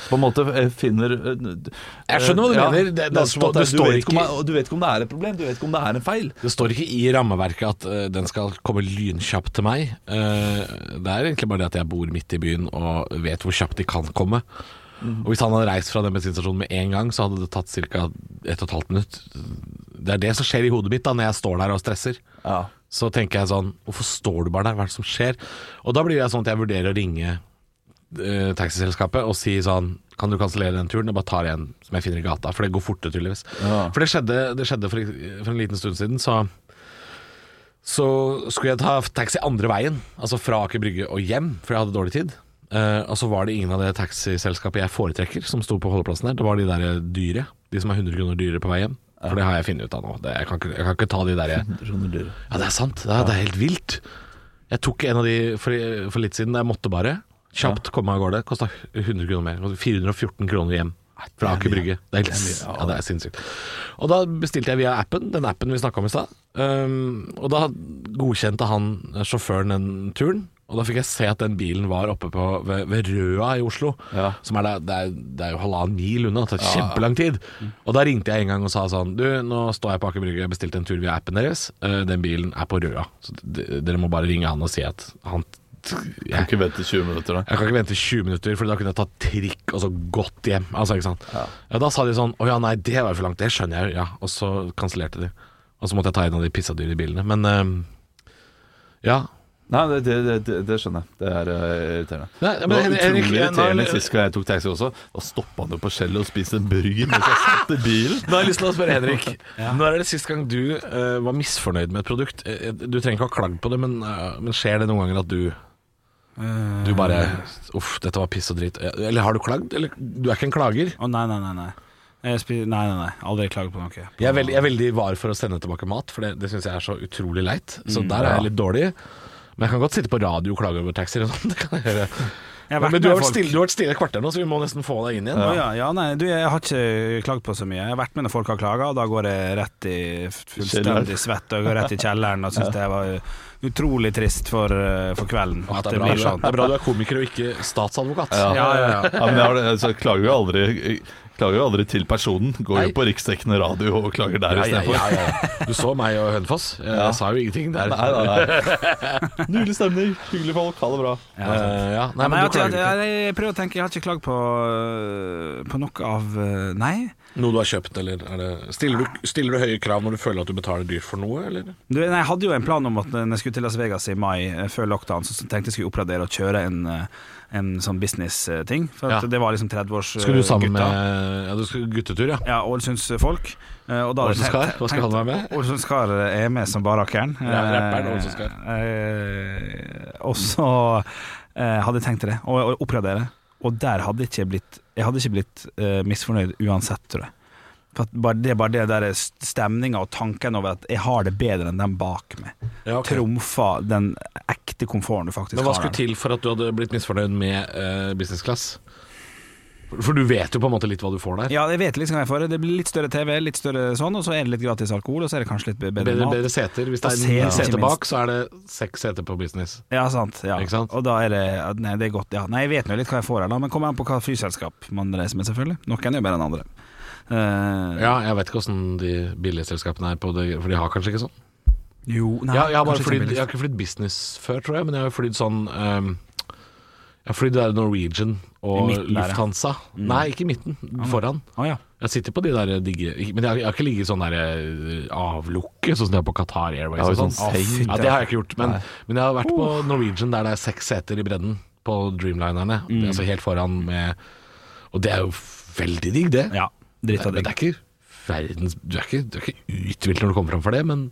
E: på en måte eh, finner Jeg
D: Jeg skjønner hva du mener. Det- det er som at
E: du,
D: det står
E: vet ikke om,
D: ikke-
E: og du vet ikke om det er et problem, du vet ikke om det er en feil.
D: Det står ikke i rammeverket at eh, den skal komme lynkjapt til meg. Eh, det er egentlig bare det at jeg bor midt i byen og vet hvor kjapt de kan komme. Og Hvis han hadde reist fra den bensinstasjonen med en gang, så hadde det tatt ca. et og et halvt minutt. Det er det som skjer i hodet mitt da når jeg står der og stresser.
E: Ja.
D: Så tenker jeg sånn Hvorfor står du bare der? Hva er det som skjer? Og da blir jeg sånn at jeg vurderer å ringe eh, taxiselskapet og si sånn Kan du kansellere den turen? Jeg bare tar en som jeg finner i gata. For det går fortere, tydeligvis.
E: Ja.
D: For det skjedde, det skjedde for, for en liten stund siden, så så skulle jeg ta taxi andre veien, altså fra Aker Brygge og hjem, for jeg hadde dårlig tid. Eh, og så var det ingen av det taxiselskapet jeg foretrekker, som sto på holdeplassen der. Det var de der dyre. De som er 100 kroner dyrere på vei hjem. For det har jeg funnet ut av nå. Det, jeg, kan ikke, jeg kan ikke ta de der jeg ja, det er sant. Det er, det er helt vilt. Jeg tok en av de for, for litt siden. Jeg måtte bare. Kjapt komme meg av gårde. Kosta 100 kroner mer. Kostet 414 kroner hjem fra Aker Brygge. Det er, helt, s- ja, det er sinnssykt. Og da bestilte jeg via appen, den appen vi snakka om i stad. Um, og da godkjente han eh, sjåføren den turen. Og da fikk jeg se at den bilen var oppe på, ved, ved Røa i Oslo.
E: Ja.
D: Som er der, det, er, det er jo halvannen mil unna. Det tar kjempelang tid. Og da ringte jeg en gang og sa sånn Du, nå står jeg på Aker Brygge, jeg bestilte en tur via appen deres. Eh, den bilen er på Røa. Så d- dere må bare ringe han og si at han jeg,
E: ikke vente 20 minutter,
D: jeg kan ikke vente 20 minutter, for da kunne jeg tatt trikk og så gått hjem. Altså, ikke sant? Ja. da sa de sånn Å ja, nei, det var jo for langt. Det skjønner jeg jo. Ja. Og så kansellerte de. Og så måtte jeg ta en av de pissadyre bilene. Men eh, ja.
E: Nei, det, det, det- det, det skjønner jeg. Det er eh, irriterende.
D: Nei,
E: det
D: men
E: var
D: Henrik- Henrik-
E: utrolig irriterende
D: nå-
E: sist gang jeg tok taxi også. Da stoppa han jo på skjellet og spiste en bryn mens jeg satt i bilen.
D: Nå har jeg lyst til å spørre Henrik. Når er det sist gang du eh, var misfornøyd med et produkt? Eh, Du trenger ikke ha klagd på det, men, eh, men skjer det noen ganger at du
C: Eh,
D: Du bare Uff, dette var piss og dritt. Eh, Eller har du klagd? Eller, du er ikke en klager?
C: Å nei, nei, nei. nei. Jeg spi- nei, nei, nei. Aldri klager på noe.
D: Jeg er, veldig, jeg er veldig var for å sende tilbake mat, for det, det syns jeg er så utrolig leit. Så
C: Mm.
D: der er jeg litt dårlig. Men jeg kan godt sitte på radio og klage over taxier og sånn. Det kan jeg gjøre.
C: Jeg har vært
D: Men
C: med
D: du har vært
C: folk-
D: stille, du har vært stille et kvarter nå, så vi må nesten få deg inn igjen.
C: Å ja, ja, nei, du, jeg har ikke klagd på så mye. Jeg har vært med når folk har klaga, og da går jeg rett i f- fullstendig
E: Kjelleren.
C: svett og jeg går rett i kjelleren og syns det var utrolig trist for, eh, for kvelden.
D: Ja,
C: At det
D: det, er bra,
C: blir
D: du-
C: sånn.
D: det er bra du er komiker og ikke statsadvokat.
C: ja,
E: Ja. Ja, men jeg, har, det- altså, jeg klager jo aldri jeg Klager jo aldri til personen. Går
D: Nei.
E: jo på riksdekkende radio og klager der
D: Ja, ja,
E: istedenfor.
D: ja, ja. Du så meg og Hønefoss. Jeg sa jo ingenting der.
E: Nei, nei, nei. Nydelig stemning, hyggelige folk, ha det bra.
D: Eh, ja. Nei,
C: Nei,
D: men
C: jeg, har ikke-
D: du klager ikke.
C: jeg, jeg prøver å tenke, jeg har ikke klagd på, øh, på noe av øh, Nei.
D: Noe du har kjøpt, eller er det stiller du, stiller du høye krav når du føler at du betaler dyrt for noe, eller?
C: Du, nei, jeg hadde jo en plan om at når jeg skulle til Las Vegas i mai, eh, før lockdown, så tenkte jeg skulle oppgradere og kjøre en, eh, en sånn business-ting. For at
D: Ja.
C: det var liksom 30-års eh,
D: Skal du sammen
C: gutta.
D: med Ja, du skal guttetur, ja.
C: Ja, Ålesundsfolk. Eh, og da hadde
D: Ålesund
C: jeg
D: Skar?
C: tenkt-
D: Hva skal han være med?
C: Ålesund Skar er med som barrakkeren.
D: Ja, rapperen Ålesund Skar.
C: Eh, og så eh, hadde jeg tenkt til det, og, og oppgradere. Og der hadde jeg ikke blitt Jeg hadde ikke blitt eh, misfornøyd uansett, tror jeg. For at bare det, bare det der stemninga og tanken over at jeg har det bedre enn den bak meg,
D: ja ok.
C: trumfa den ekte komforten du faktisk
D: Men hva skulle
C: har. der.
D: til for at du hadde blitt misfornøyd med eh, business class? For, for du vet jo på en måte litt hva du får der.
C: Ja, jeg vet liksom hva jeg får. Det blir litt større TV, litt større sånn, og så er det litt gratis alkohol, og så er det kanskje litt bedre,
D: Bedre,
C: mat.
D: bedre seter. Hvis det
C: Og
D: er
C: seter,
D: ni
C: ikke
D: seter
C: minst.
D: bak, så er det seks seter på business.
C: Ja, sant. Ja.
D: Ikke sant?
C: Og da er det Nei, det er godt, ja. Nei, jeg vet nå litt hva jeg får her, da, men kommer an på hva flyselskap man reiser med, selvfølgelig. Noen er bedre enn andre. Eh,
D: Ja, jeg vet ikke åssen de billige selskapene er på det, for de har kanskje ikke sånn.
C: Jo, nei,
D: Ja, jeg, har bare
C: kanskje
D: flydd-
C: ikke
D: jeg har ikke flydd business før, tror jeg, men jeg har jo flydd sånn ehm, Jeg har flydd der Norwegian og
C: I midten der, ja.
D: Lufthansa. Nei, ikke i midten. Foran.
C: billig. Å, ja.
D: Jeg sitter på de der eh, digge Men jeg har, jeg har ikke ligget i sånn der eh, avlukke, sånn som det er på Qatar Airways.
E: Ja,
D: og
E: sånn
D: sånn.
E: seng.
D: Ja, det har jeg ikke gjort. Men, men jeg har vært på Norwegian der det er seks seter i bredden på Dreamlinerne.
C: Mm.
D: Altså helt foran med Og det er jo veldig digg, det.
C: Ja, dritt av
D: Men det
C: digg.
D: er ikke verdens Du er ikke, du er ikke uthvilt når du kommer fram for det, men,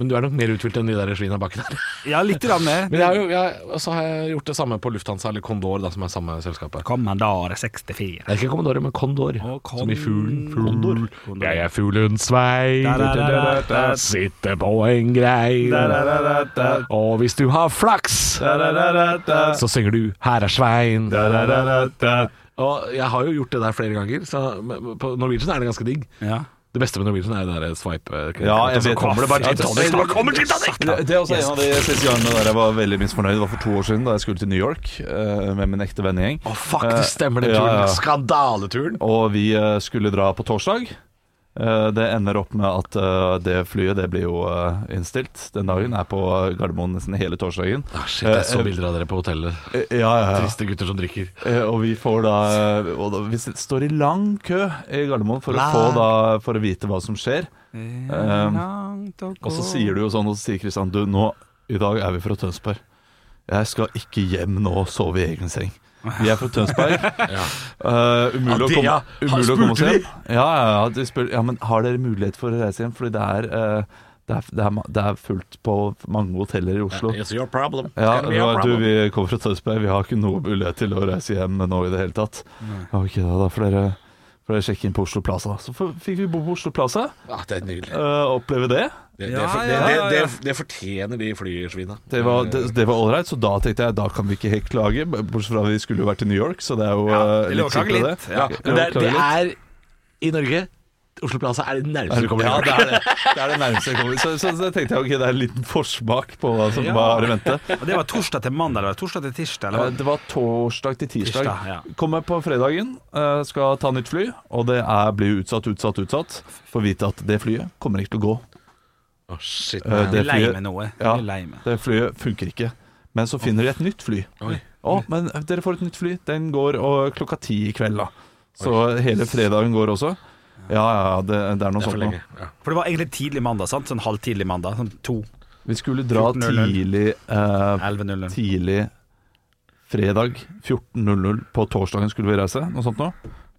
D: men du er nok mer uthvilt enn de der svina baki der.
C: Ja, litt grann mer.
D: Men jeg har jo, jeg, og så har jeg gjort det samme på Lufthansa eller Condor, da, som er samme selskapet.
C: Kommandare 64.
D: Det er ikke Commodore, men Condor.
C: Å, kon-
D: Som i fuglen.
C: Condor.
D: Fugl. Jeg er fuglens vei.
C: Da, da, da, da, da.
D: Sitter på en grei. Og hvis du har flaks, så synger du 'Her er Svein'. Og jeg har jo gjort det der flere ganger, så men på Norwegian er det ganske digg.
C: Ja.
D: Det beste med Norwegian er det der swipe. altså
E: Ja, jeg vet
D: kommer det bare
E: Ja,
D: Titanic.
E: det-
D: Så kommer Titanic!
E: Det det er også en av de siste gangene der jeg var veldig misfornøyd. Det var for to år siden, da jeg skulle til New York eh, med min ekte vennegjeng.
D: Å, fuck, det stemmer, den
E: Ja,
D: turen.
E: ja.
D: Skandaleturen.
E: Og vi eh, skulle dra på torsdag. Eh, Det ender opp med at eh, det flyet det blir jo eh, innstilt. Den dagen er på Gardermoen nesten hele torsdagen.
D: Ah, shit, jeg
E: Eh,
D: så
E: eh,
D: bilder av dere på hotellet.
E: Eh, Ja, ja, ja.
D: Triste gutter som drikker.
E: Eh, Og vi får da eh, og da- Vi s- står i lang kø i Gardermoen for, å, få da, for å vite hva som skjer. Um, Og så sier du jo sånn, og så sier Kristian Du, nå, i dag er vi fra Tønsberg Jeg skal ikke hjem nå og sove i egen seng Vi er fra Tønsberg Eh,
D: Ja,
E: Umulig å
D: det,
E: komme,
D: ja.
E: umulig å komme oss
D: Spurte
E: hjem ja, ja, ja, de spør, ja, men har dere mulighet for å reise hjem? Fordi det er, eh, det er, det er, ma- det er fullt på mange hoteller i Oslo
D: It's your problem.
E: ja,
D: It's gonna be
E: det
D: your
E: var, du,
D: problem.
E: vi kommer fra Tønsberg. Vi har ikke noe mulighet til å reise hjem nå i det hele tatt. Ok, da, da får dere, får dere sjekke inn på Oslo Plaza. Så f- fikk vi bo på Oslo Plaza.
D: Ah, det er nydelig.
E: eh, oppleve det.
D: Det, det,
C: Ja,
D: for-
C: ja,
D: det,
C: ja,
D: det,
C: ja.
D: det, det fortjener de flysvina.
E: Det var,
D: Eh.
E: det, det var all right, så da tenkte jeg da kan vi ikke helt klage. Bortsett fra vi skulle jo vært i New York, så det er jo eh,
C: det er lov å
E: litt
C: klage
E: kjipt med det.
C: litt, ja.
E: Det er
D: Men
E: lov
D: det,
E: å
D: er- det
E: klage litt.
D: er i Norge Oslo Plaza er det nærmeste du kommer.
E: ja,
D: til
E: det er det. Det er det nærmeste jeg kommer. Så, så, så tenkte jeg ok, det er en liten forsmak på hva som
C: Ja.
E: var i vente.
C: Og det var torsdag til mandag, eller torsdag til tirsdag?
E: Eh,
C: Eller?
E: Det var torsdag til tirsdag.
C: Tirsdag, ja.
E: Kommer på fredagen, eh, skal ta nytt fly, og det er, blir utsatt, utsatt, utsatt. Får vite at det flyet kommer ikke til å gå.
D: Å, shit.
E: Eh,
C: Jeg blir lei
E: flyet-
C: meg nå. Jeg
E: Ja.
C: blir lei meg.
E: Det flyet funker ikke. Men så finner de et nytt fly. Å,
D: Oi.
E: men dere får et nytt fly. Den går og klokka ti i kveld, da. Så hele fredagen går også. Ja, ja, ja, det, det er noe
D: Det er for
E: sånt nå.
D: lenge. Ja.
C: For det var egentlig tidlig mandag, sant? Sånn halvtidlig mandag. Sånn to.
E: Vi skulle dra
C: 14.00.
E: tidlig eh,
C: 11.00.
E: tidlig fredag 14.00 på torsdagen skulle vi reise. Noe sånt nå.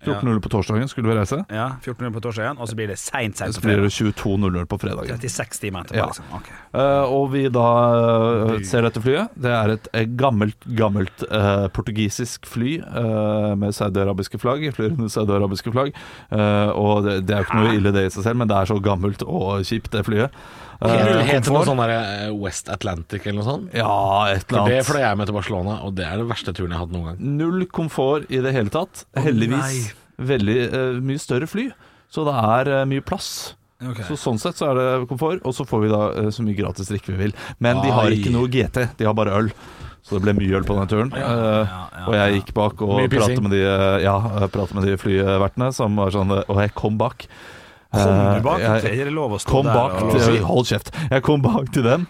E: 14.00 på torsdagen skulle vi reise.
C: Ja, 1400 på torsdag igjen, og så blir det seint, seint
E: Så
C: på
E: blir det
C: fredag.
E: 22.00 på fredagen.
C: 36 timer etterpå,
E: Ja.
C: liksom. Ok.
E: Eh, og vi da eh, ser dette flyet. Det er et eh, gammelt, gammelt eh, portugisisk fly eh, med saudiarabiske flagg. Flyr under saudiarabiske flagg. Eh, og det, det er jo ikke noe ille det i seg selv, men det er så gammelt og kjipt, det flyet.
D: Det
E: Eh,
D: heter noe
E: komfort?
D: sånn der, eh, West Atlantic eller noe sånt.
E: Ja, et
D: For
E: eller
D: det
E: annet.
D: fløy jeg med til Barcelona, og det er den verste turen jeg har hatt noen gang.
E: Null komfort i det hele tatt. Heldigvis veldig eh, mye større fly, så det er eh, mye plass.
C: Ok.
E: Så Sånn sett så er det komfort, og så får vi da eh, så mye gratis drikke vi vil. Men de har
D: Ai.
E: ikke noe GT, de har bare øl. Så det ble mye øl på den turen. Eh, og jeg gikk bak og
D: Mye pissing.
E: pratet med, de, eh, ja, eh, pratet med de flyvertene, som var sånn eh, Og jeg kom bak.
C: Kom
E: Eh,
C: du bak?
E: jeg-
C: Er det lov å stå
E: Kom
C: der?
E: bak
C: og-
E: til, Hold kjeft. Jeg kom bak til dem,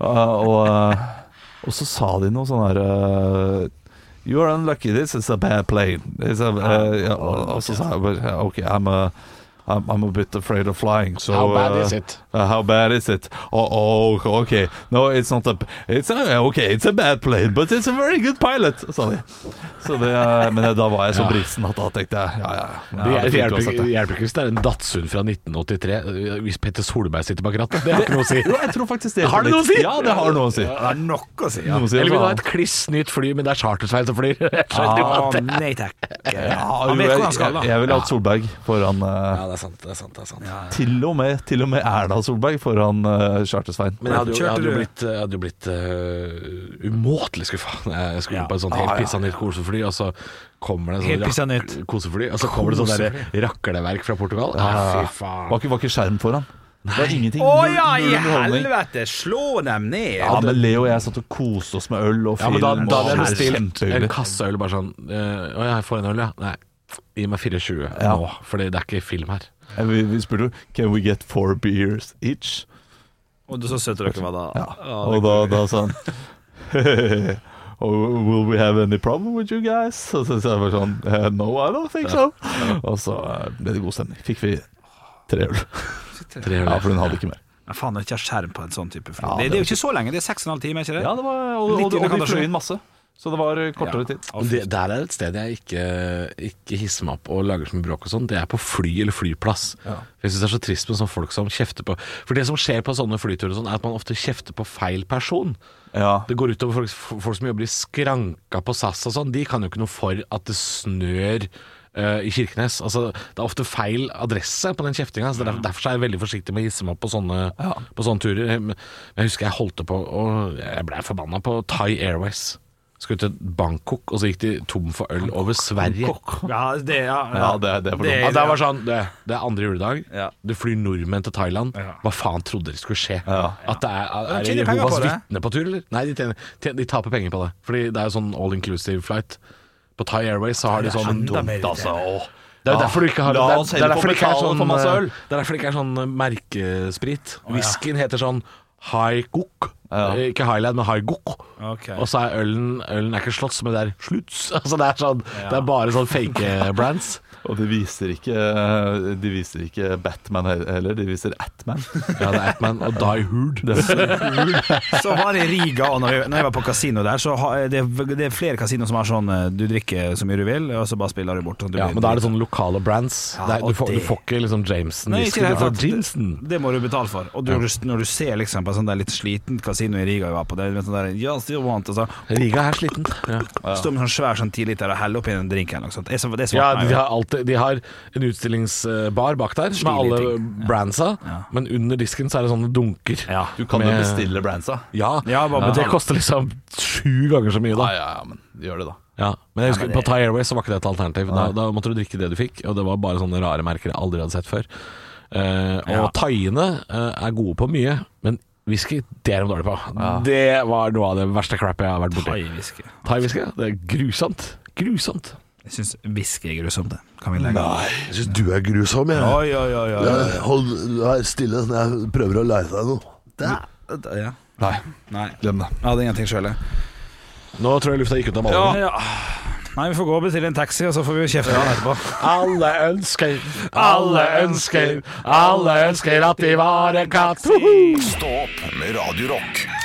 E: eh, og, eh, og så sa de noe sånn her eh, You are unlucky, this is a bad plane. It's a, eh, ja, og, og så sa jeg bare yeah, OK, I'm a, I'm, I'm a bit afraid of flying, so
D: How bad is
E: eh,
D: it?
E: eh, how bad is it? Oh, oh, OK. No, it's not a It's a, OK, it's a bad plane, but it's a very good pilot, sa de. Så det, eh, men da var jeg så brisen at da tenkte jeg ja, ja. ja,
D: Det,
E: det er
D: det
E: fint
D: hjelper
E: uansett,
D: ikke
E: det.
D: det hjelper ikke hvis det er en Datsun fra 1983 hvis Petter Solberg sitter bak rattet. Det har ikke noe å si.
E: Jo, jeg tror faktisk det
D: Har det
E: hjelper
D: noe å si?
E: litt. Ja, det har noe å si.
C: Det er nok å si. Ja.
E: Noe å si,
D: Eller vil du ha
E: faen.
D: et kliss nytt fly, men det er Chartersveien som flyr?
C: Ah, nei takk.
E: jo,
C: Han vet hvor han skal, da.
E: Jeg, jeg ville hatt Solberg foran eh,
D: Ja, det er sant. det er sant, det er sant
E: til, og med, til og med Erna Solberg foran uh, Charter-Svein.
D: Men jeg hadde jo, jeg
C: Kjørte
D: hadde jo
C: du?
D: blitt, jeg hadde jo blitt eh, umåtelig skuffa. Jeg skulle
C: Ja.
D: på et sånt helt pissa nytt kosefly, og så kommer det
C: Helt
D: sånn
C: pissa
D: rak-
C: nytt.
D: kosefly, og så kommer det sånn der rakleverk fra Portugal. Ah, fy faen.
E: Var ikke, var ikke skjerm foran. Det var ingenting.
C: Å
E: null-
C: ja, i
E: null underholdning.
C: helvete! Slå dem ned!
E: Ja, men Leo og jeg satt og koste oss med øl og
D: Ja,
E: film.
D: men da, da hadde jeg
E: og-
D: bestilt en
E: Kjempehyggelig.
D: kasseøl bare sånn eh, Å ja, jeg får en øl, ja. Nei, gi meg 24
E: Ja.
D: nå, for det er ikke film her.
E: Eh, Vi, vi spurte jo Can we get four beers each?
C: Og så søte dere var da.
E: Ja. Og da, da sa han Oh, will we have any problem with you guys? Og så sa jeg bare sånn eh, No, I don't think so. Og så eh, ble det god stemning. Fikk vi tre øl.
D: Tre øl.
E: Ja, for hun hadde ikke mer.
C: Men faen, å ikke ha skjerm på en sånn type fly.
E: Ja,
C: det,
E: det
C: det er
E: var
C: jo ikke så lenge, det er 6 12 timer, er ikke det?
E: Ja, det var, og,
C: Litt
E: og, og de
C: underkant av
E: fløy
C: sjøen.
E: inn masse. Så det var kortere tid.
D: Men Det, der er et sted jeg ikke, ikke hisser meg opp og lager så mye bråk og sånn. Det er på fly eller flyplass. For Jeg syns det er så trist med sånne folk som kjefter på For det som skjer på sånne flyturer og sånn, er at man ofte kjefter på feil person.
E: Ja.
D: Det går utover folk, folk som jobber i skranka på SAS og sånn. De kan jo ikke noe for at det snør eh, i Kirkenes. Altså, det er ofte feil adresse på den kjeftinga. Så det er, derfor så er jeg veldig forsiktig med å hisse meg opp på sånne, på sånne turer. Men jeg husker jeg holdt på og jeg blei forbanna på Thai Airways. Skulle til Bangkok, og så gikk de tom for øl over Sverige.
C: Ja, det, ja,
E: Ja, det, det er for
C: Det-
E: dumt.
D: Ja, det var sånn Det, det er andre juledag.
C: Ja.
D: Du flyr nordmenn til Thailand.
C: Ja.
D: Hva faen trodde dere skulle skje?
E: Ja.
D: At det er, er,
C: tjener
D: det
C: penger
D: Jehovas
C: på det.
D: vitner på tur, eller? Nei, de, tjener, tjener, de taper penger på det. Fordi det er jo sånn all inclusive flight. På Thai Airways så har de
C: Det er
D: sånn
C: enda mer irriterende.
E: altså. Åh.
D: Det er jo derfor du ikke har
E: La
D: det er-
E: oss
D: det er
E: heller
D: derfor
E: få
D: det ikke er sånn, eh,
E: betale for masse øl.
D: Det er derfor det ikke er sånn eh, merkesprit. Whiskyen heter sånn Haikok.
E: Ja.
D: Eh, Ikke Highland, men Haigok.
C: Ok.
D: Og så er ølen Ølen er ikke Slotts, men det er Slutts. Altså det er sånn Det er bare sånn fake brands.
E: Og de viser ikke eh, De viser ikke Batman he- heller, de viser Atman.
D: Ja, det er Atman og Die Hard.
C: Så var det i Riga, og når jeg, når jeg var på kasino der, så har, det, det er flere kasino som har sånn eh, Du drikker så mye du vil, og så bare spiller du bort. sånn at du
D: Ja,
C: blir-
D: men da er det sånne lokale brands.
C: Ja,
D: det er,
C: og
D: du, får,
C: det-
D: du får ikke liksom Jameson
C: Nei,
D: whisky,
C: ikke i det
D: du
C: hele
D: får
C: tatt.
D: Jameson.
C: Det må du betale for. Og du, når du ser liksom på en sånn der litt sliten kasino i Riga jeg var på, det er litt sånn der yes, you want, og så
D: Riga er sliten. Ja,
C: står med sånn svær sånn 10 liter og heller oppi en drink eller noe sånt. Det er så- det svarte
D: ja
C: meg
D: de,
C: jo.
D: har alltid, de har en utstillingsbar bak der med
C: Stilige
D: alle
C: ting.
D: brandsa, men under disken så er det sånne dunker.
C: Ja.
E: Du kan jo
D: Med-
E: bestille Bransa.
D: Ja,
C: Ja, bare
D: men det
C: betale.
D: koster liksom sju ganger så mye, da.
E: Ja, ja, ja, men gjør det, da.
D: Ja. Men jeg husker på Thai Airways så var ikke det et alternativ. Da, da måtte du drikke det du fikk, og det var bare sånne rare merker jeg aldri hadde sett før. Eh, og
C: Ja.
D: thaiene eh, er gode på mye, men whisky, det er de dårlige på. Det var noe av det verste crapet jeg har vært borti.
C: Thai-whisky.
D: Thai-whisky, ja. det er grusomt. Grusomt.
C: Jeg syns whisky er grusomt, det. Kan vi legge
F: Nei, jeg syns du er grusom, jeg.
C: Oi, oi, oi. oi.
F: Jeg- Hold vær stille, sånn jeg prøver å lære deg noe.
C: Ja.
E: Nei,
C: Nei.
E: glem det.
C: Jeg hadde ingenting sjøl, jeg.
D: Nå tror jeg lufta gikk ut av
C: Ja.
D: ballongen.
C: Nei, vi får gå og bestille en taxi, og så får vi kjefte på han etterpå.
D: Alle ønsker, alle ønsker, alle ønsker at de var en katt.
A: Stå opp med Radio Rock.